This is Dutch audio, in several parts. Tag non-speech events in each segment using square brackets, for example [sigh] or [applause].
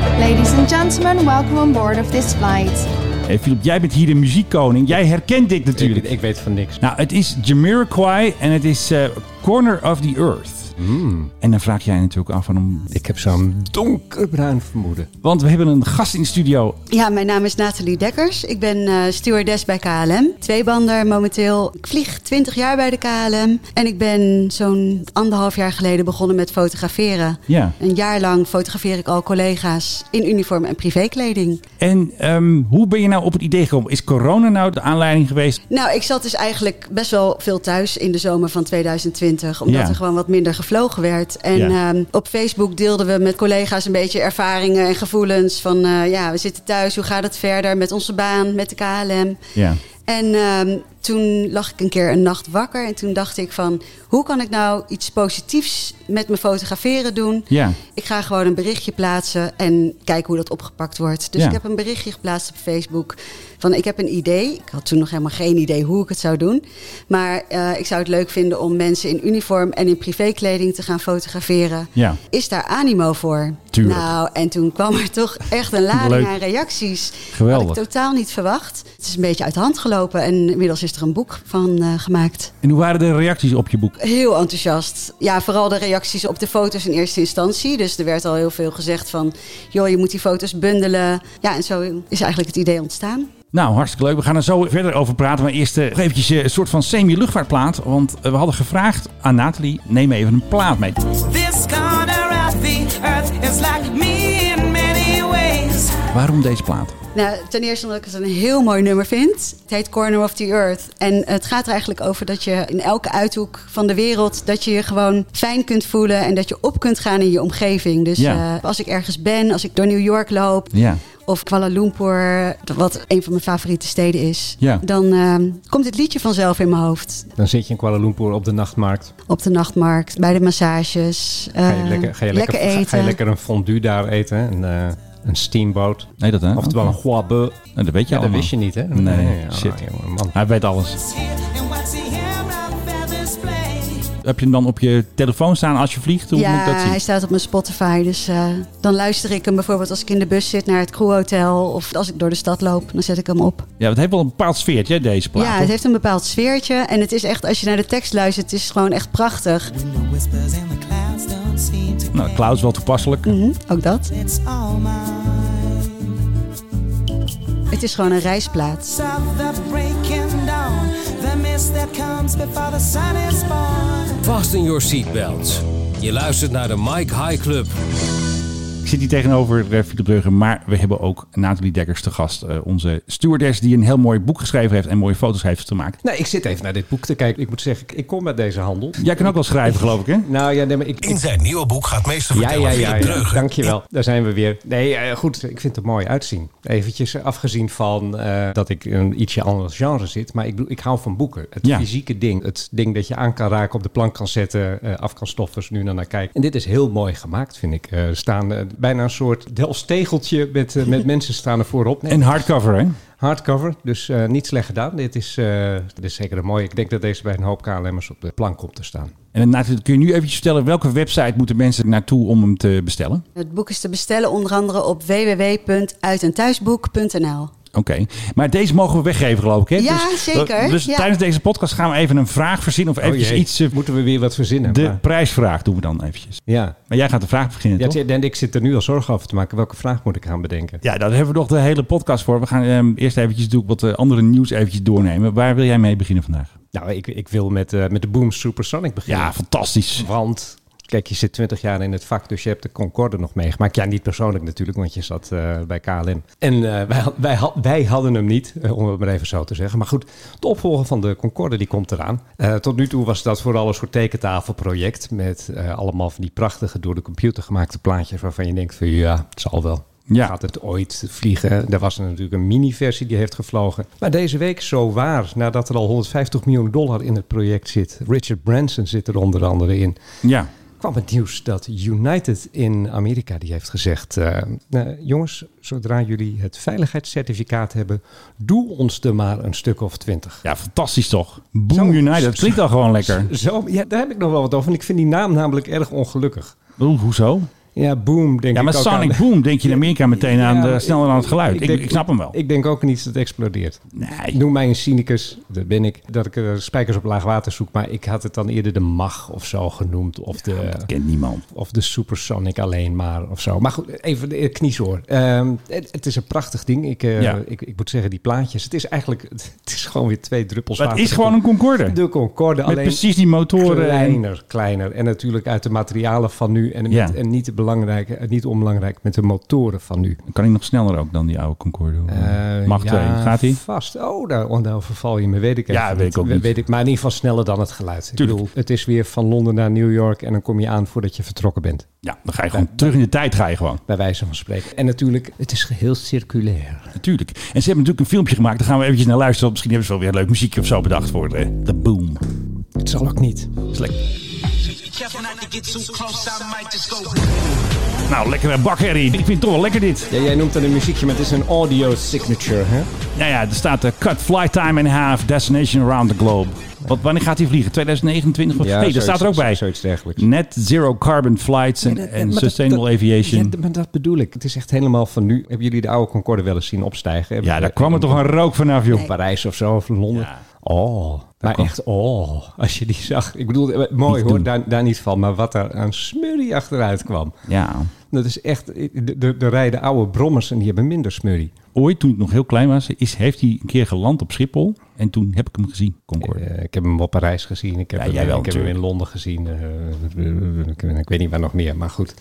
and gentlemen, welcome on board of this flight. Hey, Philip, jij bent hier de muziekkoning. Jij herkent dit natuurlijk. Ik, ik weet van niks. Nou, het is Jamiroquai en het is eh, Corner of the Earth. En dan vraag jij je natuurlijk af waarom... Ik heb zo'n donkerbruin vermoeden. Want we hebben een gast in de studio. Ja, mijn naam is Nathalie Dekkers. Ik ben eh, stewardess bij KLM. Tweebander momenteel. Ik vlieg 20 jaar bij de KLM. En ik ben zo'n anderhalf jaar geleden begonnen met fotograferen. Ja. Een jaar lang fotografeer ik al collega's in uniform en privékleding. En ehm, hoe ben je nou op het idee gekomen? Is corona nou de aanleiding geweest? Nou, ik zat dus eigenlijk best wel veel thuis in de zomer van 2020. Omdat Ja. er gewoon wat minder gevlogen werd. En Ja. ehm, op Facebook deelden we met collega's een beetje ervaringen en gevoelens. Van eh, ja, we zitten thuis, hoe gaat het verder met onze baan, met de KLM? Ja. En ehm, toen lag ik een keer een nacht wakker. En toen dacht ik van, hoe kan ik nou iets positiefs met mijn fotograferen doen? Ja. Ik ga gewoon een berichtje plaatsen en kijken hoe dat opgepakt wordt. Dus Ja. ik heb een berichtje geplaatst op Facebook van ik heb een idee. Ik had toen nog helemaal geen idee hoe ik het zou doen. Maar eh, ik zou het leuk vinden om mensen in uniform en in privékleding te gaan fotograferen. Ja. Is daar animo voor? Tuurlijk. Nou, en toen kwam er toch [laughs] echt een lading Leuk. aan reacties. Geweldig. Had ik totaal niet verwacht. Het is een beetje uit de hand gelopen en inmiddels is er een boek van eh, gemaakt. En hoe waren de reacties op je boek? Heel enthousiast. Ja, vooral de reacties op de foto's in eerste instantie. Dus er werd al heel veel gezegd van, joh, je moet die foto's bundelen. Ja, en zo is eigenlijk het idee ontstaan. Nou, hartstikke leuk. We gaan er zo verder over praten. Maar eerst eh, nog eventjes eh, een soort van semi-luchtvaartplaat. Want eh, we hadden gevraagd aan Nathalie, neem even een plaat mee. This corner of the earth is like me in many ways. Waarom deze plaat? Nou, ten eerste omdat ik het een heel mooi nummer vind. Het heet Corner of the Earth. En het gaat er eigenlijk over dat je in elke uithoek van de wereld... dat je je gewoon fijn kunt voelen en dat je op kunt gaan in je omgeving. Dus Ja. eh, als ik ergens ben, als ik door New York loop... Ja. of Kuala Lumpur, wat een van mijn favoriete steden is... Ja. dan eh, komt dit liedje vanzelf in mijn hoofd. Dan zit je in Kuala Lumpur op de nachtmarkt. Op de nachtmarkt, bij de massages, Ga je, eh, lekker, ga je lekker, ga- eten. Ga, je lekker een fondue daar eten. Een, eh, een steamboat. Nee, dat hè? Oftewel een Oké. foie beu. Nou, dat weet je Ja, dat allemaal. wist je niet, hè? Nee, ja, shit. jongen, man. Hij weet alles. It's here and what's here of feathers play. Heb je hem dan op je telefoon staan als je vliegt? Hoe moet ja, ik dat zien? hij staat op mijn Spotify. Dus eh, dan luister ik hem bijvoorbeeld als ik in de bus zit naar het crewhotel. Of als ik door de stad loop, dan zet ik hem op. Ja, het heeft wel een bepaald sfeertje, deze plaat. ja, hoor. het heeft een bepaald sfeertje. En het is echt, als je naar de tekst luistert, het is gewoon echt prachtig. When the whispers and the clouds don't seem to Nou, Cloud is wel toepasselijk. Mhm, ook dat. It's all mine. Het is gewoon een reisplaats. Stop the breaking dawn. The mist that comes before the sun is born. Fasten your seatbelts. Je luistert naar de Mike High Club. Ik zit hier tegenover eh, Philip Brugge, maar we hebben ook Nathalie Dekkers te gast. eh, onze stewardess die een heel mooi boek geschreven heeft en mooie foto's heeft gemaakt. Nou, ik zit even naar dit boek te kijken. Ik moet zeggen, ik, ik kom met deze handel. Jij kan ook wel schrijven, geloof ik, hè? Nou ja, nee, maar ik... ik- In zijn nieuwe boek gaat meester ja, vertellen ja, ja, Philip ja. Dreugen. Dankjewel. Daar zijn we weer. Nee, eh, goed. Ik vind het mooi uitzien. Eventjes eh, afgezien van eh, dat ik in een ietsje ander genre zit. Maar ik, bedoel, ik hou van boeken. Het Ja. fysieke ding. Het ding dat je aan kan raken, op de plank kan zetten, eh, af kan stoffen, als je nu naar, naar kijkt. En dit is heel mooi gemaakt, vind ik. Eh, Er staan eh, bijna een soort delstegeltje met, eh, [laughs] met mensen staan er voorop. Nee, En hardcover, hè? Hardcover, dus eh, niet slecht gedaan. Dit is, eh, dit is zeker een mooie. Ik denk dat deze bij een hoop KLM'ers op de plank komt te staan. En Nathalie, kun je nu eventjes vertellen welke website moeten mensen naartoe om hem te bestellen? Het boek is te bestellen onder andere op www.uitenthuisboek.nl. Oké, maar deze mogen we weggeven, geloof ik, hè? Ja, dus, zeker. Dus Ja. tijdens deze podcast gaan we even een vraag verzinnen of eventjes Oh jee, iets... eh, Moeten we weer wat verzinnen? de maar- prijsvraag doen we dan eventjes. ja. Maar jij gaat de vraag beginnen, Ja, toch? het- en ik zit er nu al zorgen over te maken. Welke vraag moet ik gaan bedenken? Ja, daar hebben we nog de hele podcast voor. We gaan ehm, eerst eventjes doe ik wat eh, andere nieuws eventjes doornemen. Waar wil jij mee beginnen vandaag? Nou, ik, ik wil met, eh, met de Boom Supersonic beginnen. Ja, fantastisch. Want, kijk, je zit 20 jaar in het vak, dus je hebt de Concorde nog meegemaakt. Ja, niet persoonlijk natuurlijk, want je zat eh, bij KLM. En eh, wij, had- wij, had- wij hadden hem niet, eh, om het maar even zo te zeggen. Maar goed, de opvolger van de Concorde, die komt eraan. Eh, tot nu toe was dat vooral een soort tekentafelproject... met eh, allemaal van die prachtige, door de computer gemaakte plaatjes... waarvan je denkt van, ja, het zal wel. Ja. Gaat het ooit vliegen? Er was er natuurlijk een mini-versie die heeft gevlogen. Maar deze week, zo waar, nadat er al 150 miljoen dollar in het project zit. Richard Branson zit er onder andere in Ja, kwam het nieuws dat United in Amerika die heeft gezegd... eh, eh, jongens, zodra jullie het veiligheidscertificaat hebben... doe ons er maar een stuk of twintig. ja fantastisch toch? Boom Zo. United, dat klinkt al gewoon lekker. Zo, ja, daar heb ik nog wel wat over. En ik vind die naam namelijk erg ongelukkig. Oeh, hoezo? Ja, boom, denk Ja, ik maar ook Sonic aan. Boom denk je in Amerika meteen aan, Ja, de, maar sneller [laughs] aan het geluid. Ik, denk- ik snap hem wel. Ik denk ook aan iets dat explodeert. nee. Noem mij een cynicus, dat ben ik, dat ik eh, spijkers op laag water zoek. Maar ik had het dan eerder de mag of zo genoemd. Of de, Dat kent niemand. of de Supersonic alleen maar of zo. Maar goed, even de kniezoor. Ehm het, het is een prachtig ding. Ik, eh, Ja. ik, ik moet zeggen, die plaatjes. Het is eigenlijk, [laughs] het is gewoon weer twee druppels Maar het water. is gewoon een Concorde. De Concorde, Met alleen precies die motoren. en- kleiner, kleiner. En natuurlijk uit de materialen van nu. En, Ja. niet, en niet, belangrijk, niet onbelangrijk met de motoren van nu. Kan hij nog sneller ook dan die oude Concorde? Eh, Mag ja, twee. Gaat hij? Vast. Oh, daar, daar verval je me, weet ik Ja, even weet niet. ik ook niet. Weet ik, maar in ieder geval sneller dan het geluid. Ik Tuurlijk. bedoel, het is weer van Londen naar New York en dan kom je aan voordat je vertrokken bent. Ja, dan ga je gewoon terug in de tijd. Ga je gewoon. bij wijze van spreken. En natuurlijk, het is geheel circulair. Natuurlijk. En ze hebben natuurlijk een filmpje gemaakt. Daar gaan we eventjes naar luisteren. want Misschien hebben ze wel weer leuk muziekje of zo bedacht voor eh, de, de boom. Het zal ook niet. Is lekker. Careful not to get too close, I might just go. Nou, lekkere bakherrie. Ik vind het toch wel lekker dit. Ja, jij noemt dat een muziekje, maar het is een audio signature, hè? Nou ja, er staat eh, cut flight time in half, destination around the globe. Wat, wanneer gaat hij vliegen? 2029? Of, nee, dat staat er ook bij. Zoiets dergelijks. Net zero carbon flights en en sustainable aviation. Ja, maar dat bedoel ik. Het is echt helemaal van nu. Hebben jullie de oude Concorde wel eens zien opstijgen? Hebben Ja, daar jullie- kwam er toch een rook vanaf, joh. in Parijs of zo, of Londen. Ja. Oh, maar kwam- echt oh, als je die zag. Ik bedoel, eh, mooi hoor, doen. daar, daar niet van. Maar wat daar aan smurrie achteruit kwam. Ja. Dat is echt, de, de, de rijden oude brommers en die hebben minder smurrie. Ooit, toen ik nog heel klein was, is, heeft hij een keer geland op Schiphol. En toen heb ik hem gezien, Concorde. Eh, ik heb hem op Parijs gezien. Ik heb, Ja, hem, jij wel, ik heb hem in natuurlijk. Londen gezien. eh, ik, ik weet niet waar nog meer, maar goed.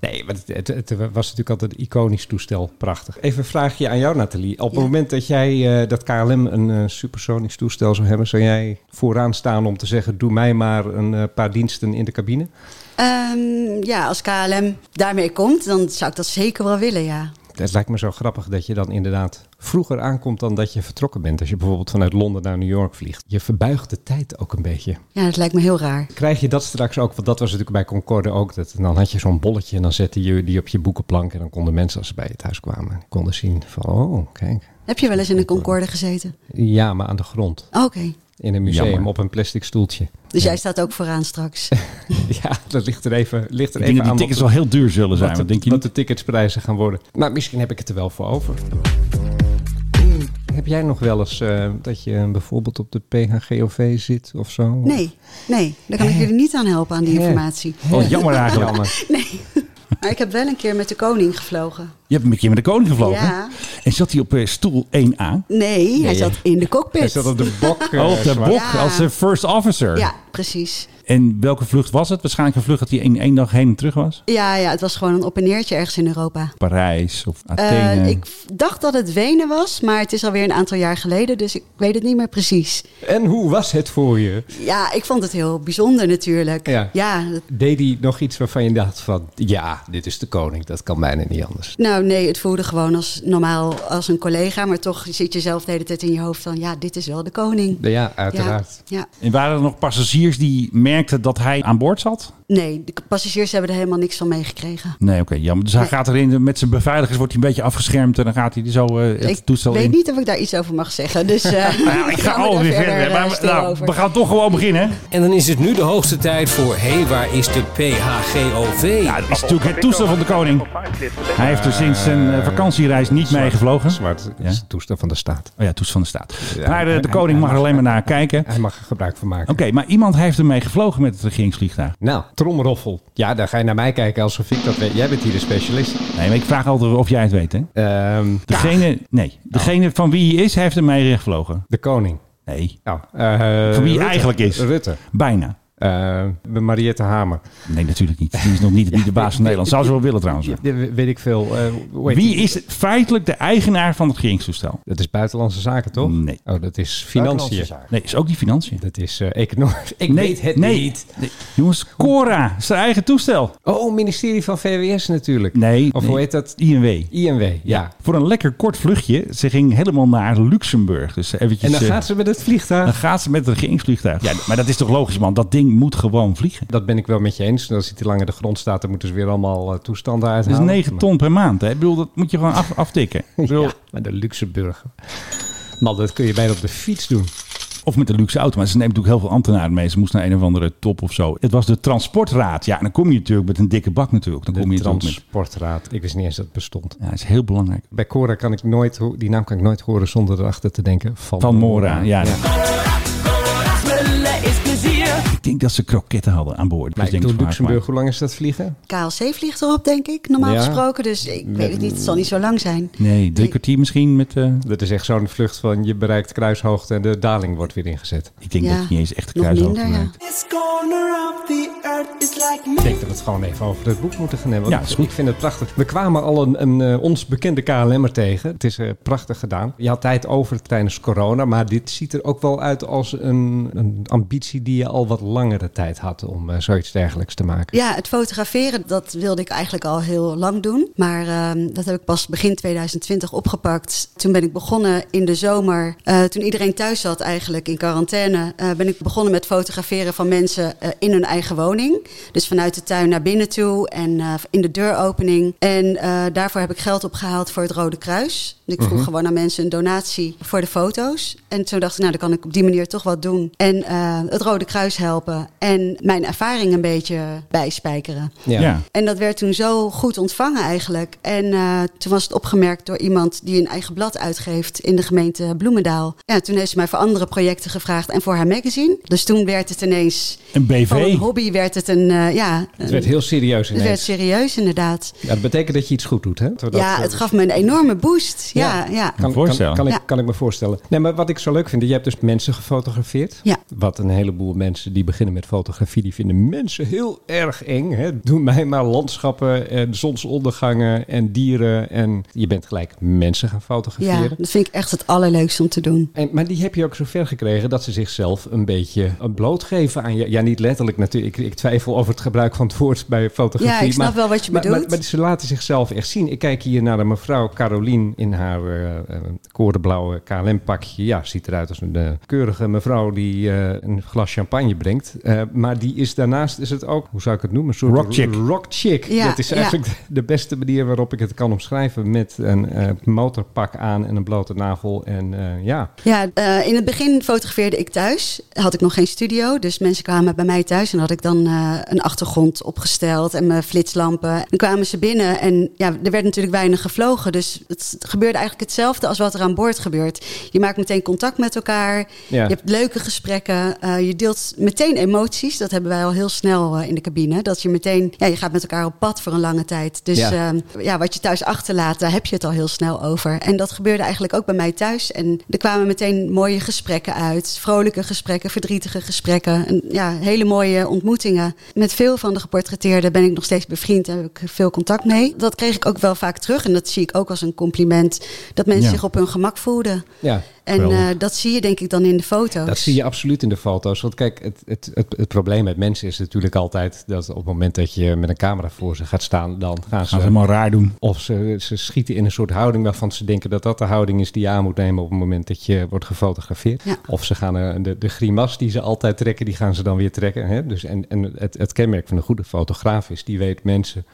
Nee, maar het, het, het was natuurlijk altijd een iconisch toestel. Prachtig. Even een vraagje aan jou, Nathalie. Op Ja. het moment dat jij eh, dat KLM een eh, supersonisch toestel zou hebben, zou jij vooraan staan om te zeggen: doe mij maar een eh, paar diensten in de cabine? Ehm, ja, als KLM daarmee komt, dan zou ik dat zeker wel willen, ja. Het lijkt me zo grappig dat je dan inderdaad vroeger aankomt dan dat je vertrokken bent. Als je bijvoorbeeld vanuit Londen naar New York vliegt. Je verbuigt de tijd ook een beetje. Ja, dat lijkt me heel raar. Krijg je dat straks ook? Want dat was natuurlijk bij Concorde ook. Dat, en dan had je zo'n bolletje en dan zette je die op je boekenplank. En dan konden mensen als ze bij je thuis kwamen, die konden zien van, oh, kijk. Heb je wel eens in een Concorde gezeten? Ja, maar aan de grond. Oké, In een museum Jammer. op een plastic stoeltje. [laughs] dus jij staat ook vooraan straks. ja, dat ligt er even, ligt er Ik even denk dat aan die wat tickets de- wel heel duur zullen zijn. wat, Wat, de, denk je wat niet? de ticketsprijzen gaan worden. Maar misschien heb ik het er wel voor over. Heb jij nog wel eens eh, dat je bijvoorbeeld op de PHGOV zit of zo? Nee, nee, daar kan ik jullie niet aan helpen aan die Hè? informatie. Oh, jammer eigenlijk. Jammer. Nee, [laughs] maar ik heb wel een keer met de koning gevlogen. Je hebt een keer met de koning gevlogen. Ja. En zat hij op eh, stoel 1A? Nee, hij Nee. zat in de cockpit. Hij zat op de bok. eh, Oh, op de zwart. bok Ja. als eh, first officer. Ja, precies. En welke vlucht was het? Waarschijnlijk een vlucht dat hij in één dag heen en terug was? Ja, ja, het was gewoon een op en neertje ergens in Europa. Parijs of Athene. Eh, ik v- dacht dat het Wenen was, maar het is alweer een aantal jaar geleden, dus ik weet het niet meer precies. En hoe was het voor je? Ja, ik vond het heel bijzonder natuurlijk. Ja. dat- Deed hij nog iets waarvan je dacht van... ja, dit is de koning, dat kan bijna niet anders. nou nee, het voelde gewoon als normaal als een collega, maar toch zit je zelf de hele tijd in je hoofd van, ja, dit is wel de koning. Ja, uiteraard. Ja, ja. En waren er nog passagiers die merkten dat hij aan boord zat? Nee, de k- passagiers hebben er helemaal niks van meegekregen. Nee, oké, jammer. Dus hij Nee. gaat erin met zijn beveiligers, wordt hij een beetje afgeschermd en dan gaat hij er zo eh, het Ik toestel weet in. niet of ik daar iets over mag [laughs] zeggen, dus eh, Nou, ik ga hou me daar alweer verder. eh, maar, stil nou, over. we gaan toch gewoon beginnen. En dan is het nu de hoogste tijd voor... Hé, hey, waar is de PHGOV? Ja, dat is natuurlijk het toestel van de koning. Hij heeft er sinds zijn eh, vakantiereis niet mee gevlogen. Zwart het Ja. is het toestel van de staat. Oh ja, toestel van de staat. maar Ja, eh, hij- de hij- koning hij mag er mag- alleen maar naar kijken. Oké, Hij mag er gebruik van maken. maar iemand heeft ermee gevlogen met het regeringsvliegtuig. Nou, tromroffel. Ja, dan ga je naar mij kijken alsof ik dat weet. Jij bent hier de specialist. Nee, maar ik vraag altijd of jij het weet, hè? Ehm, Degene, nee, degene van wie hij is, heeft ermee gevlogen. de koning. Nee, Nou, eh, Van wie Rutte. eigenlijk is. Rutte. bijna. Eh, Mariette Hamer. Nee, natuurlijk niet. Die is nog niet, niet de baas van Nederland. Zou ze wel willen trouwens. Ja, weet ik veel. eh, hoe heet Wie die? is feitelijk de eigenaar van het regeringstoestel? Dat is buitenlandse zaken, toch? Nee. Oh, dat is financiën. Nee, is ook die financiën. Dat is eh economie. [laughs] Ik nee, weet het nee. niet. Nee. Jongens, Cora is haar eigen toestel. Oh, ministerie van VWS natuurlijk. Nee. Of nee. hoe heet dat? INW. INW, ja. Voor een lekker kort vluchtje. Ze ging helemaal naar Luxemburg. Dus eventjes, En dan eh, gaat ze met het dan vliegtuig. gaat ze met een regeringsvliegtuig. Ja, maar dat is toch logisch, man. Dat ding moet gewoon vliegen. Dat ben ik wel met je eens. Als hij te lang in de grond staat, dan moeten ze weer allemaal eh, toestanden Dat is uithalen. 9 ton per maand. Hè? Ik bedoel, dat moet je gewoon af, aftikken. Ik Maar, bedoel, ja, maar de Luxemburg. Man, dat kun je bijna op de fiets doen. Of met de luxe auto. Maar ze neemt natuurlijk heel veel ambtenaren mee. Ze moest naar een of andere top of zo. Het was de transportraad. Ja, en dan kom je natuurlijk met een dikke bak natuurlijk. Dan kom De je natuurlijk met... Transportraad. Ik wist niet eens dat het bestond. Ja, dat is heel belangrijk. Bij Cora kan ik nooit, ho- die naam kan ik nooit horen zonder erachter te denken. Van, Van Mora, ja. Smullen is plezier. Ik denk dat ze kroketten hadden aan boord. Maar Dus ik denk doe ik van Luxemburg, haar hoe lang is dat vliegen? KLC vliegt erop, denk ik, normaal Ja. gesproken. Dus ik weet het niet, het zal niet zo lang zijn. maar- Nee, drie kwartier misschien met... eh, Dat is echt zo'n vlucht van je bereikt kruishoogte en de daling wordt weer ingezet. ik denk Ja, dat het niet eens echt de nog kruis minder, ja. overmaakt. This corner of the earth is like Ik me. denk dat we het gewoon even over het boek moeten gaan hebben. Ja, want is goed. Ik vind het prachtig. We kwamen al een, een, eh, ons bekende KLM'er tegen. Het is eh, prachtig gedaan. Je had tijd over tijdens corona, maar dit ziet er ook wel uit als een, een ambitie die je al wat langere tijd had om eh, zoiets dergelijks te maken. Ja, het fotograferen, dat wilde ik eigenlijk al heel lang doen. Maar ehm, dat heb ik pas begin 2020 opgepakt. Toen ben ik begonnen in de zomer, eh, toen iedereen thuis zat eigenlijk in quarantaine, eh, ben ik begonnen met fotograferen van mensen eh, in hun eigen woning. Dus vanuit de tuin naar binnen toe en eh, in de deuropening. En eh, daarvoor heb ik geld opgehaald voor het Rode Kruis. Dus ik vroeg Mhm. gewoon aan mensen een donatie voor de foto's. En toen dacht ik, nou, dan kan ik op die manier toch wat doen. En eh, het Rode Kruis helpen. En mijn ervaring een beetje bijspijkeren. Ja. En dat werd toen zo goed ontvangen eigenlijk. En eh, toen was het opgemerkt door iemand die een eigen blad uitgeeft in de gemeente Bloemendaal. Ja, toen heeft ze mij voor andere projecten gevraagd en voor haar magazine. Dus toen werd het ineens Een van een BV. hobby werd het een, eh, ja, Het werd heel serieus het werd ineens. serieus inderdaad. Ja, dat betekent dat je iets goed doet, hè? Doordat, ja, eh, het gaf me een enorme boost. Ja, ja. Kan, me voorstellen. Kan, kan, Ja. ik, kan ik me voorstellen. Nee, maar wat ik zo leuk vind, je hebt dus mensen gefotografeerd. Ja. Wat een heleboel mensen die beginnen met fotografie, die vinden mensen heel erg eng. Hè? Doe mij maar landschappen en zonsondergangen en dieren. En je bent gelijk mensen gaan Ja, fotograferen. dat vind ik echt het allerleukste om te doen. En, maar die heb je ook zo ver gekregen dat ze zichzelf een beetje eh, blootgeven aan je. Ja, niet letterlijk natuurlijk. Ik, ik twijfel over het gebruik van het woord bij fotografie. Ja, ik snap maar, wel wat je maar, bedoelt. Maar, maar ze laten zichzelf echt zien. Ik kijk hier naar een mevrouw Carolien in haar eh, eh, korenblauwe KLM-pakje. Ja, ziet eruit als een eh, keurige mevrouw die eh, een glas champagne brengt. Eh, maar die is daarnaast, is het ook, hoe zou ik het noemen? Een soort Rock chick. rock chick. Ja, dat is ja. eigenlijk de beste manier waarop ik het kan omschrijven. Met een eh, motorpak aan en een blote navel. En eh, ja, Ja, eh, in het begin fotografeerde ik thuis. Had ik nog geen studio, dus mensen kwamen bij mij thuis en had ik dan eh, een achtergrond opgesteld en mijn flitslampen. Dan kwamen ze binnen en ja, er werd natuurlijk weinig gevlogen, dus het gebeurde eigenlijk hetzelfde als wat er aan boord gebeurt. Je maakt meteen contact met elkaar, Ja. je hebt leuke gesprekken, eh, je deelt meteen emoties. Dat hebben wij al heel snel eh, in de cabine, dat je meteen, ja, je gaat met elkaar op pad voor een lange tijd. Dus Ja. ja. ja, wat je thuis achterlaat, daar heb je het al heel snel over. En dat gebeurde eigenlijk ook bij mij thuis. En er kwamen meteen mooie gesprekken uit. Vrolijke gesprekken, verdrietige gesprekken. En ja, hele mooie ontmoetingen. Met veel van de geportretteerden ben ik nog steeds bevriend en heb ik veel contact mee. Dat kreeg ik ook wel vaak terug. En dat zie ik ook als een compliment. Dat mensen Ja. zich op hun gemak voelden. Ja, en geweldig. eh, dat zie je denk ik dan in de foto's. Dat zie je absoluut in de foto's. Want kijk, het, het, het, het probleem met mensen is natuurlijk altijd dat op het moment dat je met een camera voor ze gaat staan, dan gaan ze. Gaan ze helemaal raar doen. of ze, ze schieten in een soort houding waarvan ze denken dat dat de houding is die je aan moet nemen op het moment dat je wordt gefotografeerd. Ja. Of ze gaan eh, de, de grimas die ze altijd trekken, die gaan ze dan weer trekken. Hè? Dus en, en het, het kenmerk van een goede fotograaf is, die weet mensen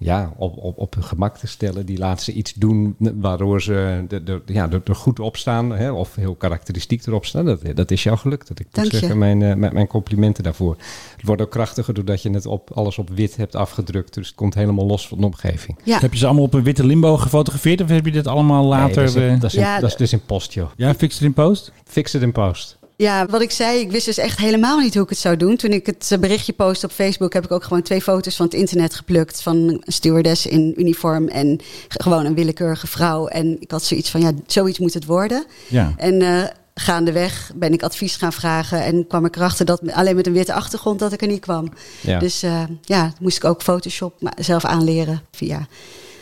ja, op, op, op hun gemak te stellen. Die laat ze iets doen waardoor ze de, de, ja, er, er goed op staan. Hè? Of heel karakteristiek erop staan. Dat, dat is jouw geluk. Dat ik moet Dank je. zeggen, mijn, eh, mijn, mijn complimenten daarvoor. Het wordt ook krachtiger doordat je het op, alles op wit hebt afgedrukt. Dus het komt helemaal los van de omgeving. Ja. Heb je ze allemaal op een witte limbo gefotografeerd? Of heb je dit allemaal later... Nee, dat, is, eh, dat, is in, Ja, dat is dus in post, joh. ja, fixed in post? Fix it in post. Ja, wat ik zei, ik wist dus echt helemaal niet hoe ik het zou doen. Toen ik het eh, berichtje post op Facebook, heb ik ook gewoon twee foto's van het internet geplukt. Van een stewardess in uniform en ge- gewoon een willekeurige vrouw. En ik had zoiets van, ja, zoiets moet het worden. Ja. En eh, gaandeweg ben ik advies gaan vragen en kwam ik erachter dat alleen met een witte achtergrond dat ik er niet kwam. Ja. Dus eh, ja, moest ik ook Photoshop ma- zelf aanleren via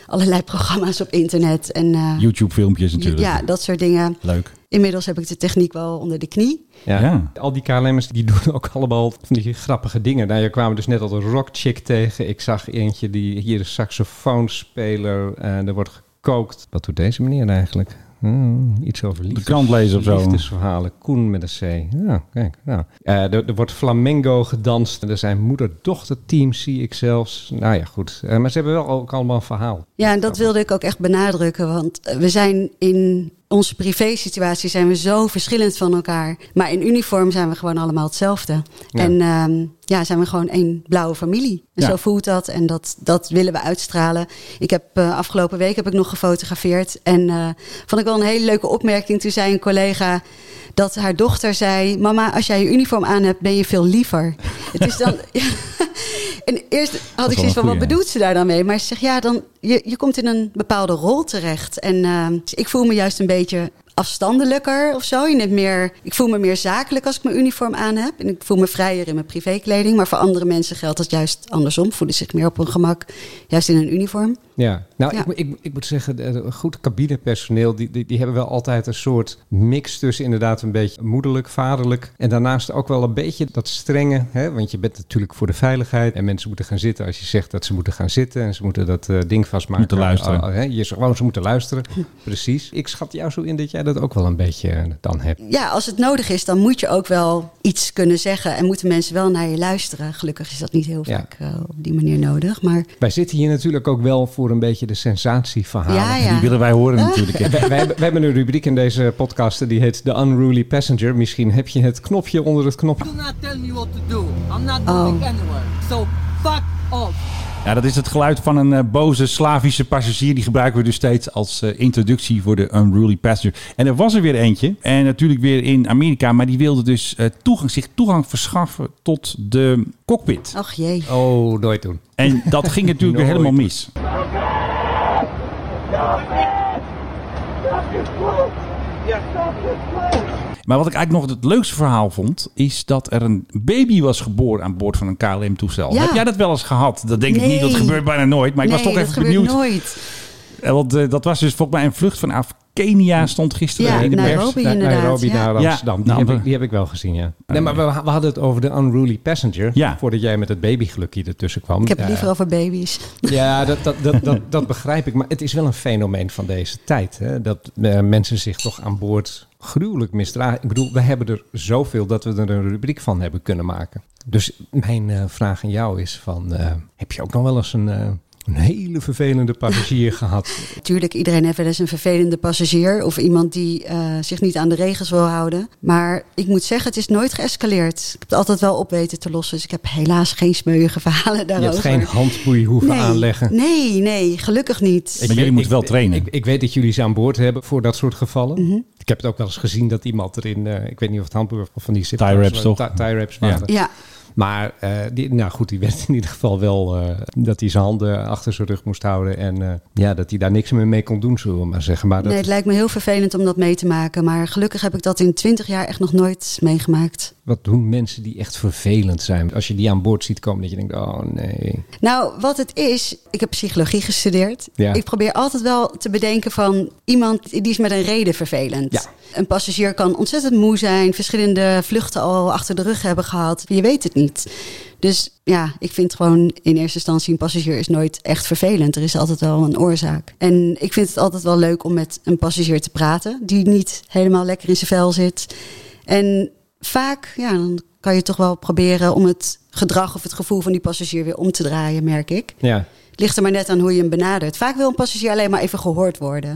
allerlei [laughs] programma's op internet. En, eh, YouTube filmpjes natuurlijk. ja, dat soort dingen. Leuk. Inmiddels heb ik de techniek wel onder de knie. Ja. Ja. Al die KLM'ers die [laughs] doen ook allemaal van die grappige dingen. Nou, je kwamen dus net al een rockchick tegen. Ik zag eentje die hier een saxofoonspeler. En eh, er wordt gekookt. Wat doet deze meneer eigenlijk? Hmm, iets over liefde. De krant lezen of zo. Liefdesverhalen. Koen met een C. Ja, kijk. Nou. Eh, er, er wordt flamengo gedanst. Er zijn moeder-dochter-teams, zie ik zelfs. Nou ja, goed. Eh, maar ze hebben wel ook allemaal een verhaal. Ja, en dat wilde ik ook echt benadrukken. Want eh, we zijn in onze privésituatie zijn we zo verschillend van elkaar. Maar in uniform zijn we gewoon allemaal hetzelfde. En ehm, ja, zijn we gewoon één blauwe familie. En Ja. zo voelt dat en dat, dat willen we uitstralen. Ik heb eh, afgelopen week heb ik nog gefotografeerd. En eh, vond ik wel een hele leuke opmerking. Toen zei een collega dat haar dochter zei... Mama, als jij je uniform aan hebt, ben je veel liever. Het is [laughs] dan... [laughs] en eerst had ik wel een zoiets van, wat goeie, ja. bedoelt ze daar dan mee? Maar ze zegt, ja, dan, je, je komt in een bepaalde rol terecht. En eh, ik voel me juist een beetje afstandelijker of zo. Je neemt meer, ik voel me meer zakelijk als ik mijn uniform aan heb. En ik voel me vrijer in mijn privékleding. Maar voor andere mensen geldt dat juist andersom. Voelen zich meer op hun gemak, juist in een uniform. Ja, nou, Ja. Ik, moet- ik, moet- ik moet zeggen, eh, goed cabinepersoneel, die, die, die hebben wel altijd een soort mix tussen inderdaad een beetje moederlijk, vaderlijk. En daarnaast ook wel een beetje dat strenge, hè, want je bent natuurlijk voor de veiligheid. En mensen moeten gaan zitten als je zegt dat ze moeten gaan zitten. En ze moeten dat eh, ding vastmaken. Moeten luisteren. Oh, oh, hè, je zegt gewoon, ze moeten luisteren. Precies. Ik schat jou zo in dat jij dat ook wel een beetje eh, dan hebt. Ja, als het nodig is, dan moet je ook wel iets kunnen zeggen. En moeten mensen wel naar je luisteren. Gelukkig is dat niet heel Ja. vaak eh, op die manier nodig. Maar Wij zitten hier natuurlijk ook wel voor een beetje de sensatieverhalen. ja, ja. Die willen wij [laughs] horen natuurlijk. hè. [laughs] wij, wij hebben, wij hebben een rubriek in deze podcast die heet The Unruly Passenger. Misschien heb je het knopje onder het knopje. Do not tell me what to do. I'm not Oh. going anywhere. So fuck off. Ja, dat is het geluid van een eh, boze Slavische passagier. Die gebruiken we dus steeds als eh, introductie voor de Unruly Passenger. En er was er weer eentje. En natuurlijk weer in Amerika. Maar die wilde dus eh, toegang, zich toegang verschaffen tot de cockpit. Ach jee. Oh, nooit doen. En dat ging natuurlijk weer Nooit. helemaal mis. Maar wat ik eigenlijk nog het leukste verhaal vond, is dat er een baby was geboren aan boord van een KLM-toestel. Ja. Heb jij dat wel eens gehad? Dat denk ik niet, dat Nee. gebeurt bijna nooit. Maar ik was Nee, toch dat even gebeurt benieuwd. nooit. Eh, Want eh, dat was dus volgens mij een vlucht vanaf Kenia stond gisteren Ja, in de nou, pers. ook. Nairobi inderdaad, Nairobi ja. naar Amsterdam. Ja, die, nou, heb we- ik, die heb ik wel gezien, ja. Nee, maar we, we hadden het over de Unruly Passenger. Ja. Voordat jij met het babygeluk hier ertussen kwam. Eh, Ik heb Ja. het liever over baby's. Ja, dat, dat, dat, dat, dat begrijp ik. Maar het is wel een fenomeen van deze tijd. Hè? Dat eh, mensen zich toch aan boord gruwelijk misdragen. Ik bedoel, we hebben er zoveel dat we er een rubriek van hebben kunnen maken. Dus mijn eh, vraag aan jou is van... eh, heb je ook nog wel eens een, eh, een hele vervelende [laughs] passagier gehad? Natuurlijk, iedereen heeft wel eens een vervelende passagier of iemand die eh, zich niet aan de regels wil houden. Maar ik moet zeggen, het is nooit geëscaleerd. Ik heb het altijd wel op weten te lossen. Dus ik heb helaas geen smeuïge verhalen Je daarover. hebt geen handboei hoeven nee, aanleggen. Nee, nee, gelukkig niet. Maar jullie weet- moeten wel trainen. Ik, ik weet dat jullie ze aan boord hebben voor dat soort gevallen. Mhm. Ik heb het ook wel eens gezien dat iemand erin... eh, ik weet niet of het handboek of van die... zit. Tie wraps, toch? Tie, tie wraps Ja. waren. ja, Maar eh, die, nou goed, die werd in ieder geval wel eh, dat hij zijn handen achter zijn rug moest houden. En eh, ja, dat hij daar niks meer mee kon doen, zullen we maar zeggen. Maar dat, nee, het lijkt me heel vervelend om dat mee te maken. Maar gelukkig heb ik dat in twintig jaar echt nog nooit meegemaakt. wat doen mensen die echt vervelend zijn? Als je die aan boord ziet komen, dat je denkt, oh nee. Nou, wat het is, ik heb psychologie gestudeerd. Ja. Ik probeer altijd wel te bedenken van iemand die is met een reden vervelend. Ja. Een passagier kan ontzettend moe zijn, verschillende vluchten al achter de rug hebben gehad. Je weet het niet. Dus ja, ik vind gewoon in eerste instantie een passagier is nooit echt vervelend. Er is altijd wel een oorzaak. En ik vind het altijd wel leuk om met een passagier te praten die niet helemaal lekker in zijn vel zit. En vaak, ja, dan kan je toch wel proberen om het gedrag of het gevoel van die passagier weer om te draaien, merk ik. Ja, Het ligt er maar net aan hoe je hem benadert. Vaak wil een passagier alleen maar even gehoord worden.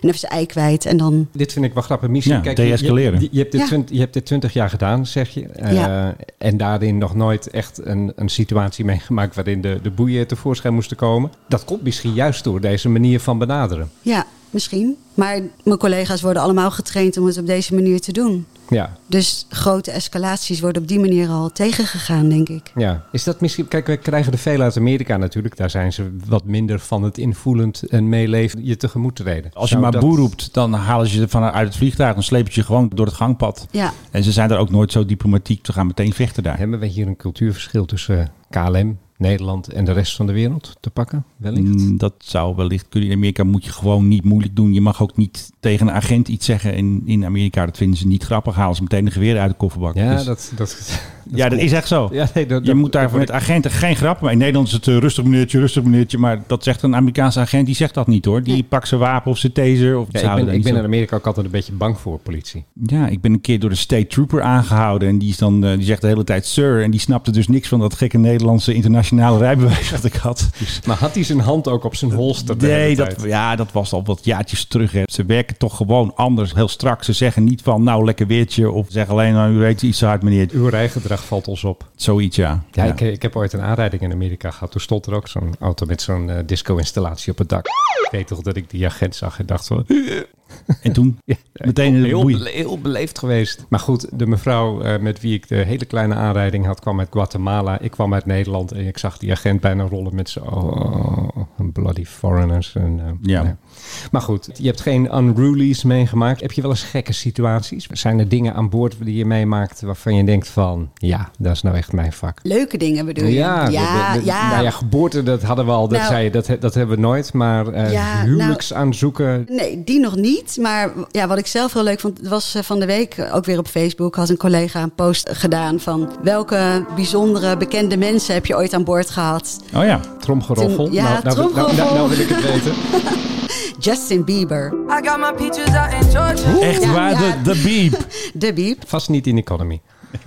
En even zijn ei kwijt. En dan, dit vind ik wel grappig. Misschien, Ja, je- deescaleren. Je, je, hebt dit Ja. twint- je hebt dit twintig jaar gedaan, zeg je. Eh, Ja. En daarin nog nooit echt een, een situatie meegemaakt waarin de, de boeien tevoorschijn moesten komen. Dat komt misschien juist door deze manier van benaderen. ja, misschien. Maar mijn collega's worden allemaal getraind om het op deze manier te doen. Ja, Dus grote escalaties worden op die manier al tegengegaan, denk ik. Ja, is dat misschien... Kijk, we krijgen er veel uit Amerika natuurlijk. Daar zijn ze wat minder van het invoelend en meeleven je tegemoet treden. Als je Zou maar dat- boer roept, dan halen ze je vanuit het vliegtuig. Dan slepen ze je gewoon door het gangpad. Ja. En ze zijn daar ook nooit zo diplomatiek. Ze gaan meteen vechten daar. Hebben we hier een cultuurverschil tussen eh, KLM, Nederland en de rest van de wereld te pakken? Wellicht. Mm, Dat zou wellicht kunnen. In Amerika moet je gewoon niet moeilijk doen. Je mag ook niet tegen een agent iets zeggen in, in Amerika. Dat vinden ze niet grappig. Halen ze meteen een geweer uit de kofferbak. Ja, Dus dat, dat, [laughs] ja, dat klopt. is echt zo. Ja, nee, dat- je dat- moet daar dat met word agenten geen grap. Maar in Nederland is het eh, rustig meneertje, rustig meneertje. Maar dat zegt een Amerikaanse agent, die zegt dat niet hoor. Die pakt zijn wapen of zijn taser. Of ze houden Ja, ik daar ben, ik niet ben zo- in Amerika ook altijd een beetje bang voor politie. Ja, ik ben een keer door de state trooper aangehouden. En die, is dan, eh, die zegt de hele tijd sir. En die snapte dus niks van dat gekke Nederlandse internationale rijbewijs [laughs] dat ik had. Dus, Maar had hij zijn hand ook op zijn holster? de hele nee, dat, tijd? ja, dat was al wat jaartjes terug. Hè. Ze werken toch gewoon anders, heel strak. Ze zeggen niet van nou lekker weertje. Of zeggen alleen nou, u weet iets te hard meneer. Uw rijgedrag valt ons op. Zoiets ja. Ja, Ik, ik heb ooit een aanrijding in Amerika gehad. Toen stond er ook zo'n auto met zo'n eh, disco-installatie op het dak. Ik weet toch dat ik die agent zag en dacht van... En [laughs] toen meteen in de heel, boei. bele- heel beleefd geweest. Maar goed, de mevrouw eh, met wie ik de hele kleine aanrijding had, kwam uit Guatemala. Ik kwam uit Nederland en ik zag die agent bijna rollen met zijn oh, oh, oh, bloody foreigners. En, eh, Ja. nou ja. Maar goed, je hebt geen unrulies meegemaakt. Heb je wel eens gekke situaties? Zijn er dingen aan boord die je meemaakt waarvan je denkt van, ja, dat is nou echt mijn vak? Leuke dingen bedoel je? ja, de- de- ja. Nou ja, geboorte, dat hadden we al. Dat, Nou. zei je, dat, he- dat hebben we nooit. Maar eh Ja, nou. huwelijksaanzoeken, Nee, die nog niet. Maar ja, wat ik zelf heel leuk vond, was eh, van de week eh, ook weer op Facebook. Had een collega een post gedaan van welke bijzondere bekende mensen heb je ooit aan boord gehad? Oh ja. tromgeroffel. Toen- ja, nou, nou, nou- nou- tromgeroffel. nou wil ik het weten. Justin Bieber, I got my peaches out in Georgia. Echt Ja, waar, ja. De, de beep. de biep. Vast niet in economy.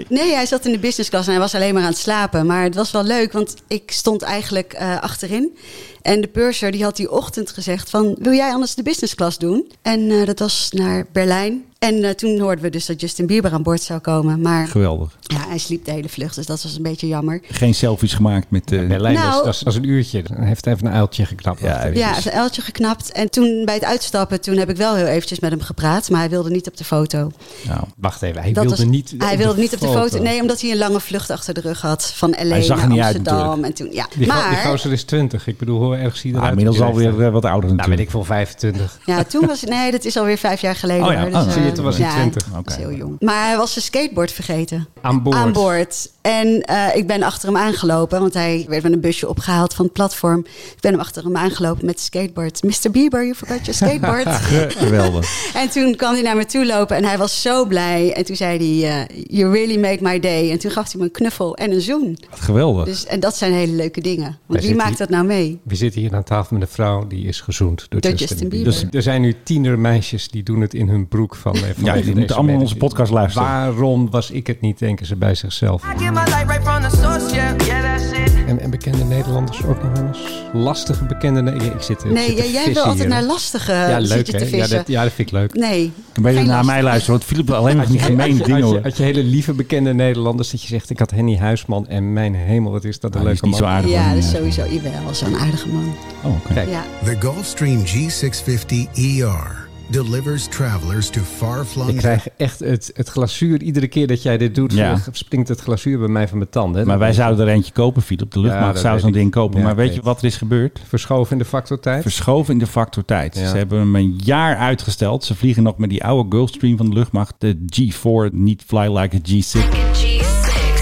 Nee, hij zat in de business class en hij was alleen maar aan het slapen. Maar het was wel leuk, want ik stond eigenlijk eh, achterin. En de purser die had die ochtend gezegd van... wil jij anders de business class doen? En eh, dat was naar Berlijn. En eh, toen hoorden we dus dat Justin Bieber aan boord zou komen. Maar Geweldig. ja, hij sliep de hele vlucht, dus dat was een beetje jammer. Geen selfies gemaakt met... eh, Berlijn Nou- was, was, was een uurtje. Hij heeft even een uiltje geknapt. Ja, Wacht even. Ja, zijn uiltje geknapt. En toen bij het uitstappen, toen heb ik wel heel eventjes met hem gepraat. Maar hij wilde niet op de foto. nou, Wacht even, hij Dat wilde was- niet hij wilde niet op de foto. Nee, omdat hij een lange vlucht achter de rug had. Van LA Hij zag er naar niet uit Amsterdam. natuurlijk. en toen, ja. Die, maar... die maar gozer is 20. Ik bedoel, hoe erg zie je ah, eruit? inmiddels alweer eh, wat ouder Nou, weet natuurlijk. ik veel, 25. ja, toen was Nee, dat is alweer vijf jaar geleden. Oh ja, hoor. oh, Dus, zie je, eh, toen was hij ja, 20. dat Oké. is heel jong. Maar hij was zijn skateboard vergeten. Aan boord. Aan boord. En eh, ik ben achter hem aangelopen. Want hij werd met een busje opgehaald van het platform. Ik ben hem achter hem aangelopen met zijn skateboard. Mr. Bieber, you forgot your [laughs] skateboard. Eh, Geweldig. En toen kwam hij naar me toe lopen en hij was zo blij. En toen zei hij, eh, you really make my day. En toen gaf hij me een knuffel en een zoen. Geweldig. Dus, en dat zijn hele leuke dingen. Daar Want wie zit maakt hij. dat nou mee? We zitten hier aan tafel met een vrouw die is gezoend door, Door Justin, Justin Bieber. Bieber. Dus er zijn nu tienermeisjes die doen het in hun broek van. eh, vanwege Ja, die deze moeten allemaal medische- onze podcast luisteren. Waarom was ik het niet, denken ze bij zichzelf. I get my light right from the source, yeah. Yeah, that's it. En, en bekende Nederlanders ook nog wel eens? Lastige bekende Nederlanders. Ik zit, ik Nee, zit te jij- jij wil vissen altijd hier. naar lastige ja, leuk, zit je hè? te Ja, vissen. dat, ja, dat vind ik leuk. Nee. Een beetje geen naar lastige. mij luisteren, want Philip wil alleen maar van die Als gemeene je- dingen als je, hoor. als je hele lieve bekende Nederlanders dat je zegt, ik had Henny Huisman en mijn hemel, wat is dat een Ah, die is leuke niet zo man. aardig. Ja, hoor. dat is sowieso jawel, zo'n aardige man. Oh, oké. Kijk, Ja. The Gulfstream G650ER E delivers travelers to ik far-flung krijg echt het, het glazuur. Iedere keer dat jij dit doet, eh, Ja. springt het glazuur bij mij van mijn tanden. hè. Maar wij Dat zouden er eentje kopen, Philip. De luchtmacht dat zou weet zo'n ik. ding kopen. Ja, maar ik weet weet je het. wat er is gebeurd? Verschoven in de factor tijd. Verschoven in de factor tijd. Ja. Ze hebben hem een jaar uitgesteld. Ze vliegen nog met die oude Gulfstream van de luchtmacht. De G4, niet Fly Like a G6.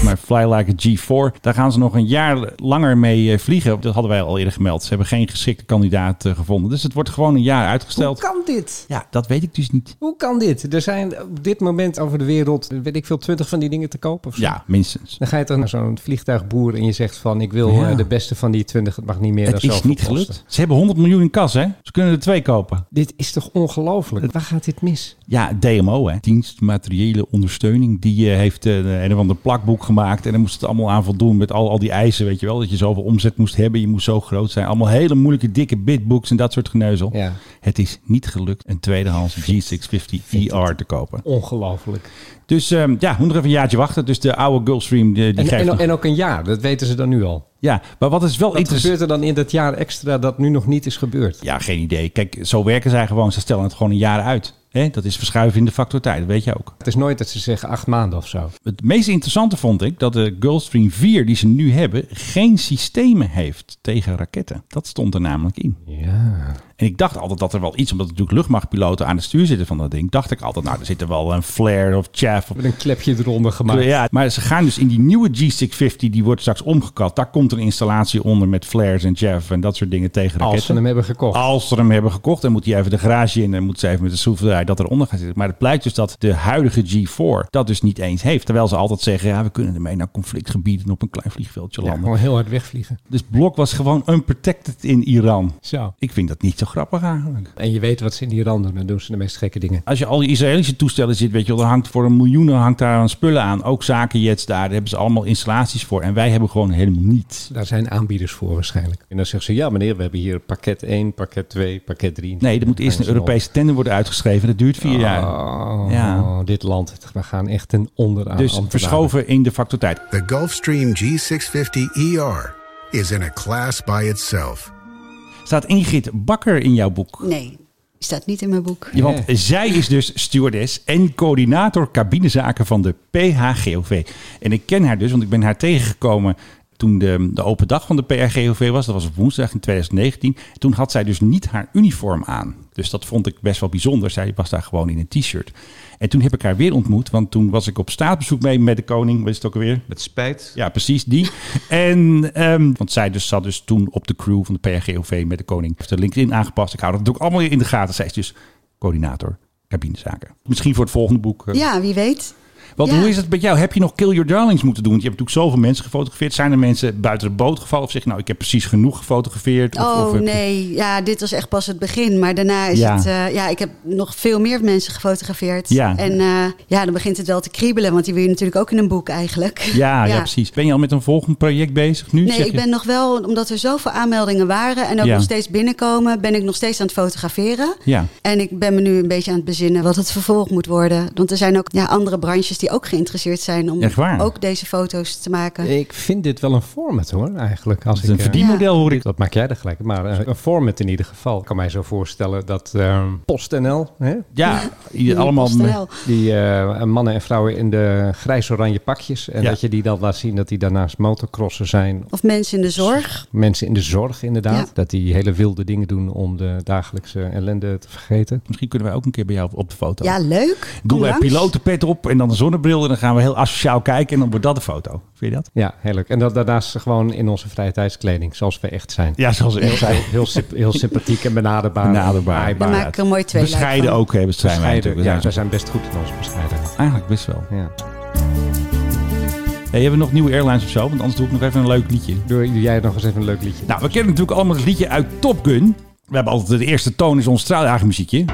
Maar Fly Like a G4, daar gaan ze nog een jaar langer mee eh, vliegen. Dat hadden wij al eerder gemeld. Ze hebben geen geschikte kandidaat eh, gevonden. Dus het wordt gewoon een jaar Hoe uitgesteld. kan dit? Ja, dat weet ik dus niet. Hoe kan dit? Er zijn op dit moment over de wereld, weet ik veel, twintig van die dingen te kopen of zo. Ja, minstens. Dan ga je toch naar zo'n vliegtuigboer en je zegt van, ik wil Ja. eh, de beste van die twintig, het mag niet meer Het dan is zoveel niet kosten. gelukt. Ze hebben 100 miljoen in kas, hè? Ze kunnen er twee kopen. Dit is toch ongelooflijk? Waar gaat dit mis? Ja, DMO, hè? Dienst Materiële Ondersteuning. Die eh, heeft eh, een of ander plakboek gemaakt. En daar moest het allemaal aan voldoen met al, al die eisen, weet je wel. Dat je zoveel omzet moest hebben, je moest zo groot zijn. Allemaal hele moeilijke, dikke bitbooks en dat soort geneuzel. Ja. Het is niet gelukt een tweedehands G650 ER E te kopen. Ongelooflijk. Dus ehm, ja, moet nog even een jaartje wachten. Dus de oude Gulfstream, die, die En, geeft en, nog- en ook een jaar, dat weten ze dan nu al. Ja, maar wat is wel Wat interessant... gebeurt er dan in dat jaar extra dat nu nog niet is gebeurd? Ja, geen idee. Kijk, zo werken zij gewoon. Ze stellen het gewoon een jaar uit. Hè? Dat is verschuiven in de factor tijd, dat weet je ook. Het is nooit dat ze zeggen acht maanden of zo. Het meest interessante vond ik dat de Gulfstream 4 die ze nu hebben... geen systemen heeft tegen raketten. Dat stond er namelijk in. Ja. En En ik dacht altijd dat er wel iets, omdat er natuurlijk luchtmachtpiloten aan het stuur zitten van dat ding, dacht ik altijd, nou, er zit er wel een flare of chaff of Met een klepje eronder gemaakt. ja, maar ze gaan dus in die nieuwe G650, die wordt straks omgekat. Daar komt een installatie onder met flares en chaff en dat soort dingen tegen raketten. Als ze hem hebben gekocht. Als ze hem hebben gekocht, dan moet hij even de garage in en moet ze even met de schroevendraaier dat eronder gaan zitten. Maar het blijkt dus dat de huidige G4 dat dus niet eens heeft. Terwijl ze altijd zeggen, ja, we kunnen ermee naar conflictgebieden en op een klein vliegveldje Ja, landen. gewoon heel hard wegvliegen. Dus Blok was gewoon unprotected in Iran. Zo. Ik vind dat niet zo grappig eigenlijk. En je weet wat ze in Iran doen, dan doen ze de meest gekke dingen. Als je al die Israëlische toestellen zit, weet je wel, er hangt voor een miljoenen hangt daar aan spullen aan. Ook zakenjets daar, daar hebben ze allemaal installaties voor. En wij hebben gewoon helemaal niets. Daar zijn aanbieders voor waarschijnlijk. En dan zeggen ze, ja meneer, we hebben hier pakket 1, pakket 2, pakket 3. Nee, er moet eerst een Europese tender worden uitgeschreven. Dat duurt vier jaar. Oh, Ja. dit land, we gaan echt ten onder aan Dus ambtenaren. verschoven in de factor tijd. The Gulfstream G650ER E is in a class by itself. Staat Ingrid Bakker in jouw boek? Nee, die staat niet in mijn boek. Ja, Want zij is dus stewardess en coördinator cabinezaken van de PHGOV. En ik ken haar dus, want ik ben haar tegengekomen toen de, de open dag van de PHGOV was. Dat was op woensdag in 2019. Toen had zij dus niet haar uniform aan. Dus dat vond ik best wel bijzonder. Zij was daar gewoon in een t-shirt. En toen heb ik haar weer ontmoet, want toen was ik op staatsbezoek mee met de koning. Wat is het ook alweer? Met spijt. Ja, precies, die. [laughs] En, ehm, want zij dus zat dus toen op de crew van de PRGOV met de koning. Heeft de LinkedIn aangepast. Ik hou dat natuurlijk allemaal in de gaten. Zij is dus coördinator cabinezaken. Misschien voor het volgende boek. eh. Ja, wie weet. Want ja. hoe is het met jou? Heb je nog Kill Your Darlings moeten doen? Want je hebt natuurlijk zoveel mensen gefotografeerd. Zijn er mensen buiten de boot gevallen? Of zeg je, nou, ik heb precies genoeg gefotografeerd? Of, Oh of heb je- nee, ja, dit was echt pas het begin. Maar daarna is Ja. het... eh, ja, ik heb nog veel meer mensen gefotografeerd. Ja. En eh, ja, dan begint het wel te kriebelen. Want die wil je natuurlijk ook in een boek eigenlijk. Ja, ja. precies. Ben je al met een volgend project bezig nu? Nee, Zeg ik je- ben nog wel, omdat er zoveel aanmeldingen waren en ook Ja. nog steeds binnenkomen, ben ik nog steeds aan het fotograferen. Ja. En ik ben me nu een beetje aan het bezinnen wat het vervolg moet worden. Want er zijn ook ja, andere branches die ook geïnteresseerd zijn om Echt waar? ook deze foto's te maken. Ik vind dit wel een format hoor, eigenlijk. Als Het is een ik, eh, verdienmodel, hoor ik. Dat maak jij er gelijk. Maar eh, een format in ieder geval. Ik kan mij zo voorstellen dat eh, PostNL, hè, Ja, Die allemaal... past met- wel. die eh, mannen en vrouwen in de grijs-oranje pakjes. En Ja. dat je die dan laat zien dat die daarnaast motocrossen zijn. Of mensen in de zorg. Mensen in de zorg inderdaad. Ja. Dat die hele wilde dingen doen om de dagelijkse ellende te vergeten. Misschien kunnen wij ook een keer bij jou op de foto. Ja, leuk. Doen Kom wij langs. pilotenpet op en dan de zonnebril. En dan gaan we heel asociaal kijken. En dan wordt dat de foto. Vind je dat? Ja, heel leuk. En dat daarnaast gewoon in onze vrije tijdskleding, zoals we echt zijn. Ja, zoals we echt Heel, zijn. heel, symp- heel sympathiek en benaderbaar. Benaderbaar. Aaibaar. Dan maak ik er mooi twee lijken Bescheiden van. ook hebben zijn wij Bescheiden. natuurlijk. Ja, Ja, wij zijn best goed in onze bescheidenheid. Eigenlijk best wel. Ja. Hey, hebben we nog nieuwe airlines of zo? Want anders doe ik nog even een leuk liedje. Doe doe jij nog eens even een leuk liedje? Nou, we kennen natuurlijk allemaal het liedje uit Top Gun. We hebben altijd de eerste toon is ons straaljagermuziekje.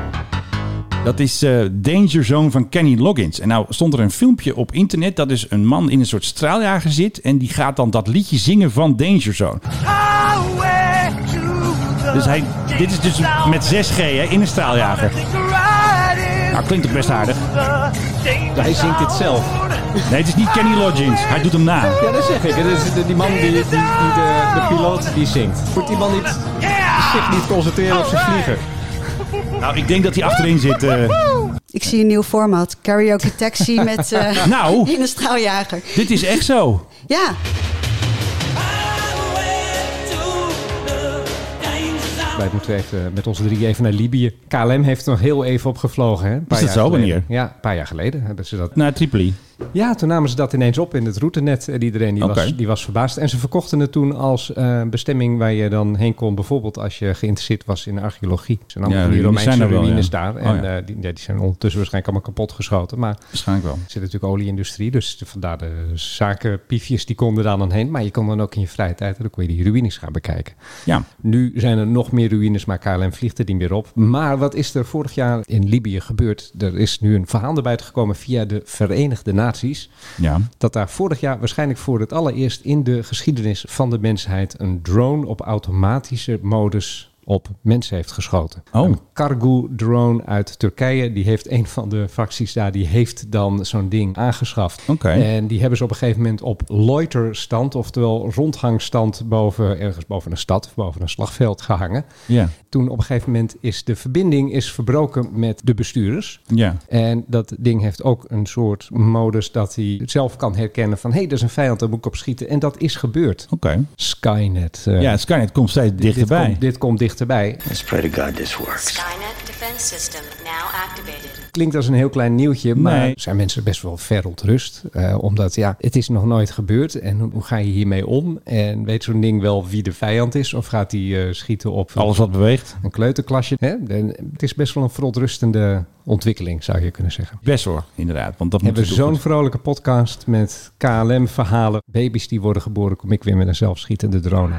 Dat is eh, Danger Zone van Kenny Loggins. En nou stond er een filmpje op internet dat dus een man in een soort straaljager zit. En die gaat dan dat liedje zingen van Danger Zone. Dus hij, dit is dus met 6G hè, in een straaljager. Nou, klinkt toch best aardig. hij zingt dit zelf. Nee, het is niet Kenny Loggins. Hij doet hem na. Ja, dat zeg ik. Het is de- die man die, die, die de, de piloot die zingt. Moet die man niet, zich niet concentreren op zijn vlieger? Nou, ik denk dat hij achterin zit. eh. Ik zie een nieuw format. Karaoke taxi [laughs] met eh, Nou. in een straaljager. dit is echt zo. Ja, Wij moeten even eh, met onze drie even naar Libië. KLM heeft er nog heel even op gevlogen. Hè? Een paar Is dat jaar zo? geleden. Wanneer? Ja, een paar jaar geleden hebben ze dat. Naar Tripoli. Ja, toen namen ze dat ineens op in het routenet. En iedereen die, Oké. was, die was verbaasd. En ze verkochten het toen als eh, bestemming waar je dan heen kon. Bijvoorbeeld als je geïnteresseerd was in archeologie. Ze namen Ja, van die ruïnes Romeinse zijn er wel, ruïnes ja. daar. Oh, En ja. eh, die, ja, die zijn ondertussen waarschijnlijk allemaal kapot geschoten. Maar Waarschijnlijk wel. Er zit natuurlijk olieindustrie, dus de- vandaar de zakenpiefjes die konden daar dan heen. Maar je kon dan ook in je vrije tijd, dan kon je die ruïnes gaan bekijken. Ja. Nu zijn er nog meer ruïnes, maar KLM vliegt er niet meer op. Maar wat is er vorig jaar in Libië gebeurd? Er is nu een verhaal naar buiten gekomen via de Verenigde Naties. Ja. Dat daar vorig jaar waarschijnlijk voor het allereerst in de geschiedenis van de mensheid een drone op automatische modus op mensen heeft geschoten. Oh. Een cargo drone uit Turkije, die heeft een van de fracties daar, die heeft dan zo'n ding aangeschaft. Oké. En die hebben ze op een gegeven moment op loiterstand, oftewel rondhangstand boven, ergens boven een stad, of boven een slagveld gehangen. Ja. Toen op een gegeven moment is de verbinding is verbroken met de bestuurders. Ja. En dat ding heeft ook een soort modus dat hij zelf kan herkennen van... hé, hey, dat is een vijand, daar moet ik op schieten. En dat is gebeurd. Oké. Skynet. eh, Ja, Skynet komt steeds dit dichterbij. Komt, dit komt dichterbij. Let's pray to God this works. Skynet defense system now activated. Klinkt als een heel klein nieuwtje, maar Nee. zijn mensen best wel verontrust. eh omdat ja, het is nog nooit gebeurd en hoe ga je hiermee om? En weet zo'n ding wel wie de vijand is? Of gaat hij eh, schieten op een- Alles wat beweegt. een kleuterklasje? Hè? En het is best wel een verontrustende ontwikkeling, zou je kunnen zeggen. Best hoor, inderdaad. Want dat We hebben moet zo'n vrolijke podcast met KLM-verhalen. Baby's die worden geboren, kom ik weer met een zelfschietende drone.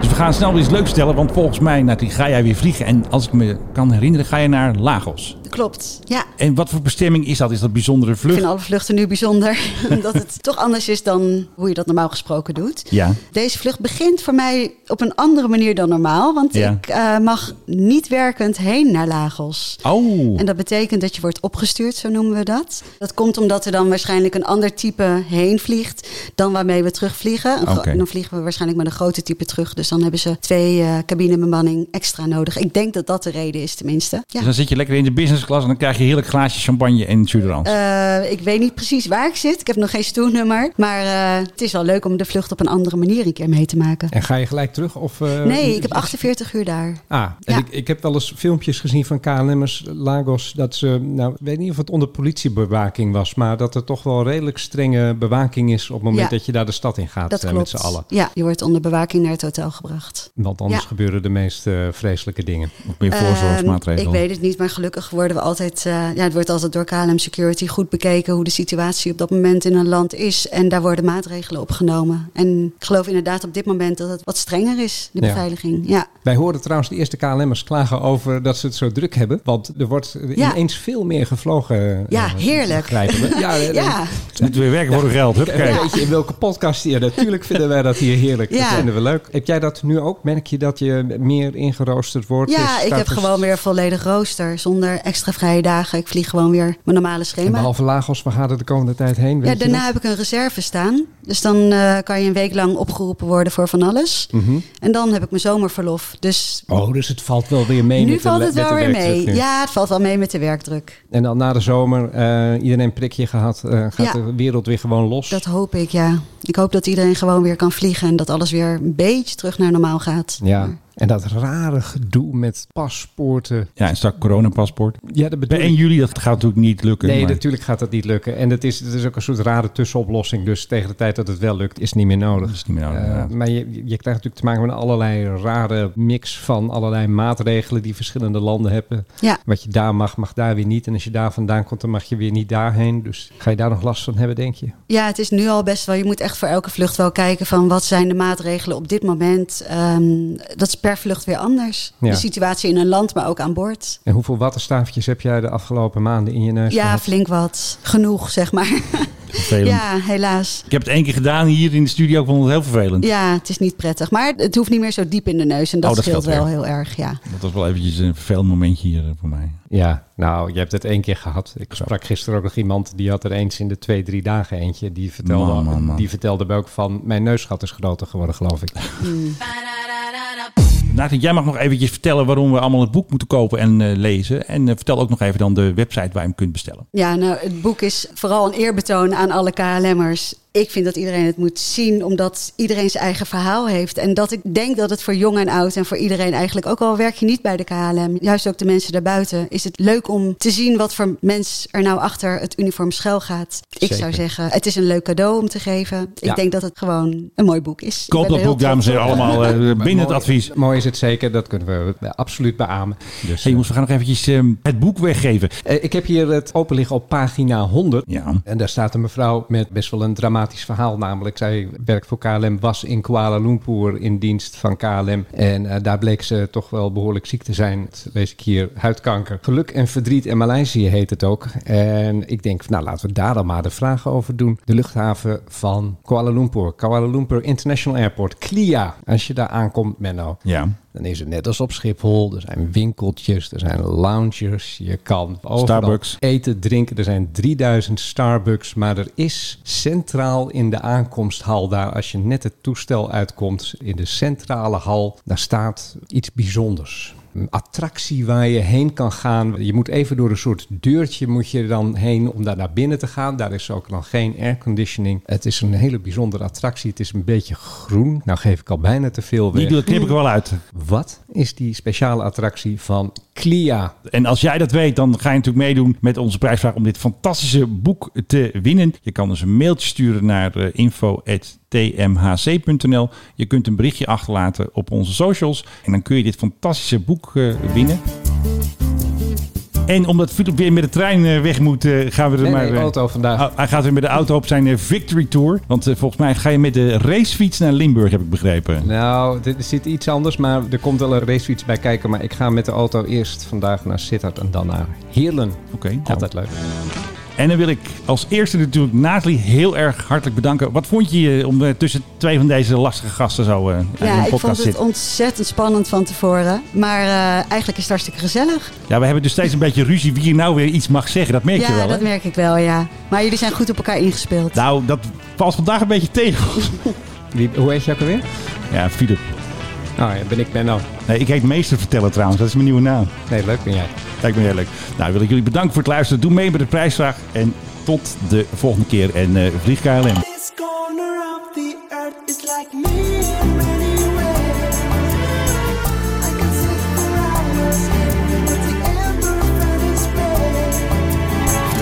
Dus we gaan snel weer iets leuks stellen, want volgens mij Nathalie, ga jij weer vliegen. En als ik me kan herinneren, ga je naar Lagos. Klopt. Ja, En wat voor bestemming is dat? Is dat bijzondere ik vlucht? vind alle vluchten nu bijzonder. [laughs] omdat het toch anders is dan hoe je dat normaal gesproken doet. Ja. Deze vlucht begint voor mij op een andere manier dan normaal. Want Ja. ik eh, mag niet werkend heen naar Lagos. Oh, En dat betekent dat je wordt opgestuurd, zo noemen we dat. Dat komt omdat er dan waarschijnlijk een ander type heen vliegt dan waarmee we terugvliegen. Een gro- Oké. Dan vliegen we waarschijnlijk met een grote type terug. Dus dan hebben ze twee eh, cabinebemanning extra nodig. Ik denk dat dat de reden is, tenminste. Ja. dus dan zit je lekker in de business class en dan krijg je een heerlijk glaasje champagne en suderans. Eh, ik weet niet precies waar ik zit. Ik heb nog geen stoelnummer. Maar eh, het is wel leuk om de vlucht op een andere manier een keer mee te maken. En ga je gelijk terug? Of, eh, Nee, ik heb 48 uur daar. Ah, en Ja. ik, ik heb wel eens filmpjes gezien van KLM'ers Lagos. Dat ze, nou, ik weet niet of het onder politiebewaking was. Maar dat er toch wel redelijk strenge bewaking is op het moment Ja. dat je daar de stad in gaat Dat eh, klopt. met z'n allen. Ja, je wordt onder bewaking naar het hotel gebracht. Want anders Ja. gebeuren de meest eh, vreselijke dingen. of meer voorzorgsmaatregelen. Ehm, eh, ik weet het niet, maar gelukkig worden we altijd, eh, ja, het wordt altijd door KLM Security goed bekeken hoe de situatie op dat moment in een land is. En daar worden maatregelen op genomen. En ik geloof inderdaad op dit moment dat het wat strenger is, de Ja. beveiliging. Ja. Wij horen trouwens de eerste KLM'ers klagen over dat ze het zo druk hebben. Want er wordt Ja. ineens veel meer gevlogen. eh, Ja, heerlijk. begrijpen [laughs] we. Ja, eh, Ja. Het moet weer werken voor hun geld. Hup, Kijk, weet je in welke podcast hier? Natuurlijk vinden wij dat hier heerlijk. Dat Ja. vinden we leuk. Heb jij dat nu ook? Merk je dat je meer ingeroosterd wordt? ja, Is- ik heb staat er- gewoon weer volledig rooster zonder extra vrije dagen. Ik vlieg gewoon weer mijn normale En schema. behalve Lagos, we gaan er de komende tijd heen. Weet Ja, je daarna dat? heb ik een reserve staan. Dus dan eh, kan je een week lang opgeroepen worden voor van alles. Mhm. En dan heb ik mijn zomerverlof. Dus Oh, dus het valt wel weer mee. nu met de valt le- het met wel de weer werkdruk mee. nu. Ja, het valt wel mee met de werkdruk. En dan na de zomer, eh, iedereen een prikje gehad, eh, gaat Ja. de wereld weer gewoon los. Dat hoop ik, ja. Ik hoop dat iedereen gewoon weer kan vliegen en dat alles weer een beetje terug naar normaal gaat. Ja. En dat rare gedoe met paspoorten. Ja, en straks coronapaspoort. Ja, dat Bij bedoel 1 juli, dat gaat natuurlijk niet lukken. Nee, maar- natuurlijk gaat dat niet lukken. En het is, het is ook een soort rare tussenoplossing. Dus tegen de tijd dat het wel lukt, is het niet meer nodig. Dat is niet meer nodig, Eh, inderdaad. maar je, je krijgt natuurlijk te maken met allerlei rare mix van allerlei maatregelen die verschillende landen hebben. Ja. Wat je daar mag, mag daar weer niet. En als je daar vandaan komt, dan mag je weer niet daarheen. Dus ga je daar nog last van hebben, denk je? Ja, het is nu al best wel. Je moet echt voor elke vlucht wel kijken van wat zijn de maatregelen op dit moment. Ehm, dat is per vlucht weer anders. Ja. De situatie in een land, maar ook aan boord. En hoeveel wattenstaafjes heb jij de afgelopen maanden in je neus Ja, gehad? flink wat. Genoeg, zeg maar. Vervelend. [laughs] ja, helaas. Ik heb het één keer gedaan hier in de studio. Ik vond het heel vervelend. Ja, het is niet prettig. Maar het hoeft niet meer zo diep in de neus. En dat, Oh, dat scheelt scheelt wel weer. heel erg, ja. Dat was wel eventjes een vervelend momentje hier eh, voor mij. Ja, nou, je hebt het één keer gehad. Ik sprak gisteren ook nog iemand die had er eens in de twee, drie dagen eentje. Die vertelde, Man, man, man. Die vertelde me ook van, mijn neusgat is groter geworden, [laughs] geloof ik. Eh, Nathan, jij mag nog eventjes vertellen waarom we allemaal het boek moeten kopen en eh, lezen. En eh, vertel ook nog even dan de website waar je hem kunt bestellen. Ja, nou, het boek is vooral een eerbetoon aan alle KLM'ers. Ik vind dat iedereen het moet zien, omdat iedereen zijn eigen verhaal heeft. En dat ik denk dat het voor jong en oud en voor iedereen eigenlijk, ook al werk je niet bij de KLM, juist ook de mensen daarbuiten, is het leuk om te zien wat voor mens er nou achter het uniform schuil gaat. Ik zou Zeker. zeggen, het is een leuk cadeau om te geven. Ik Ja. denk dat het gewoon een mooi boek is. Ik Koop ben dat er heel boek, dames en heren, trots op. allemaal [laughs] eh, binnen het Mooi- advies. Mooi is het zeker, dat kunnen we eh, absoluut beamen. Dus, Hey jongens, we gaan nog eventjes eh, het boek weggeven. eh, ik heb hier het openliggen op pagina 100. Ja. En daar staat een mevrouw met best wel een dramatisch verhaal. Namelijk, zij werkt voor KLM, was in Kuala Lumpur in dienst van KLM. En eh, daar bleek ze toch wel behoorlijk ziek te zijn. Dat lees ik hier, huidkanker. Geluk en verdriet in Maleisië heet het ook. En ik denk, nou laten we daar dan maar de vragen over doen. De luchthaven van Kuala Lumpur. Kuala Lumpur International Airport, CLIA. Als je daar aankomt, Menno. Ja. Dan is het net als op Schiphol. Er zijn winkeltjes, er zijn lounges. Je kan overal Starbucks. eten, drinken. Er zijn 3000 Starbucks. Maar er is centraal in de aankomsthal daar, als je net het toestel uitkomt, in de centrale hal, daar staat iets bijzonders. een attractie waar je heen kan gaan. Je moet even door een soort deurtje moet je dan heen om daar naar binnen te gaan. Daar is ook dan geen airconditioning. Het is een hele bijzondere attractie. Het is een beetje groen. Nou geef ik al bijna te veel Die weg. doe- knip ik er wel uit. Wat is die speciale attractie van Clia? En als jij dat weet, dan ga je natuurlijk meedoen met onze prijsvraag om dit fantastische boek te winnen. Je kan dus een mailtje sturen naar eh, info.tmhc.nl. Je kunt een berichtje achterlaten op onze socials. En dan kun je dit fantastische boek eh, winnen. En omdat Philip weer met de trein eh, weg moet, eh, gaan we er Nee, maar... nee, eh, auto vandaag. Oh, hij gaat weer met de auto op zijn eh, Victory Tour. Want eh, volgens mij ga je met de racefiets naar Limburg, heb ik begrepen. Nou, dit zit iets anders, maar er komt wel een racefiets bij kijken. Maar ik ga met de auto eerst vandaag naar Sittard en dan naar Heerlen. Oké, nou. Altijd leuk. En dan wil ik als eerste natuurlijk Nathalie heel erg hartelijk bedanken. Wat vond je eh, om eh, tussen twee van deze lastige gasten zo eh in Ja, een ik vond podcast het zitten? ontzettend spannend van tevoren. Maar eh, eigenlijk is het hartstikke gezellig. Ja, we hebben dus steeds een beetje ruzie wie hier nou weer iets mag zeggen. Dat merk ja, je wel, hè? dat merk ik wel, ja. Maar jullie zijn goed op elkaar ingespeeld. Nou, dat valt vandaag een beetje [laughs] tegen. Wie, hoe heet je ook alweer? Ja, Filip. Oh ja, ben ik Benno. Nee, ik heet Meester Vertellen trouwens. Dat is mijn nieuwe naam. Nee, leuk ben jij. Lijkt me heel leuk. Nou, wil ik jullie bedanken voor het luisteren. Doe mee met de prijsvraag. En tot de volgende keer. En eh vlieg KLM. This corner of the earth is like me anyway. I can sit for hours here, but the amber fan is red.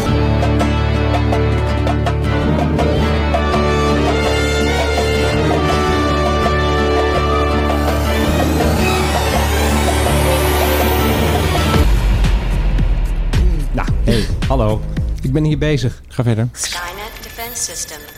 Nou, hey, hallo. Ik ben hier bezig. Ga verder. Skynet Defense System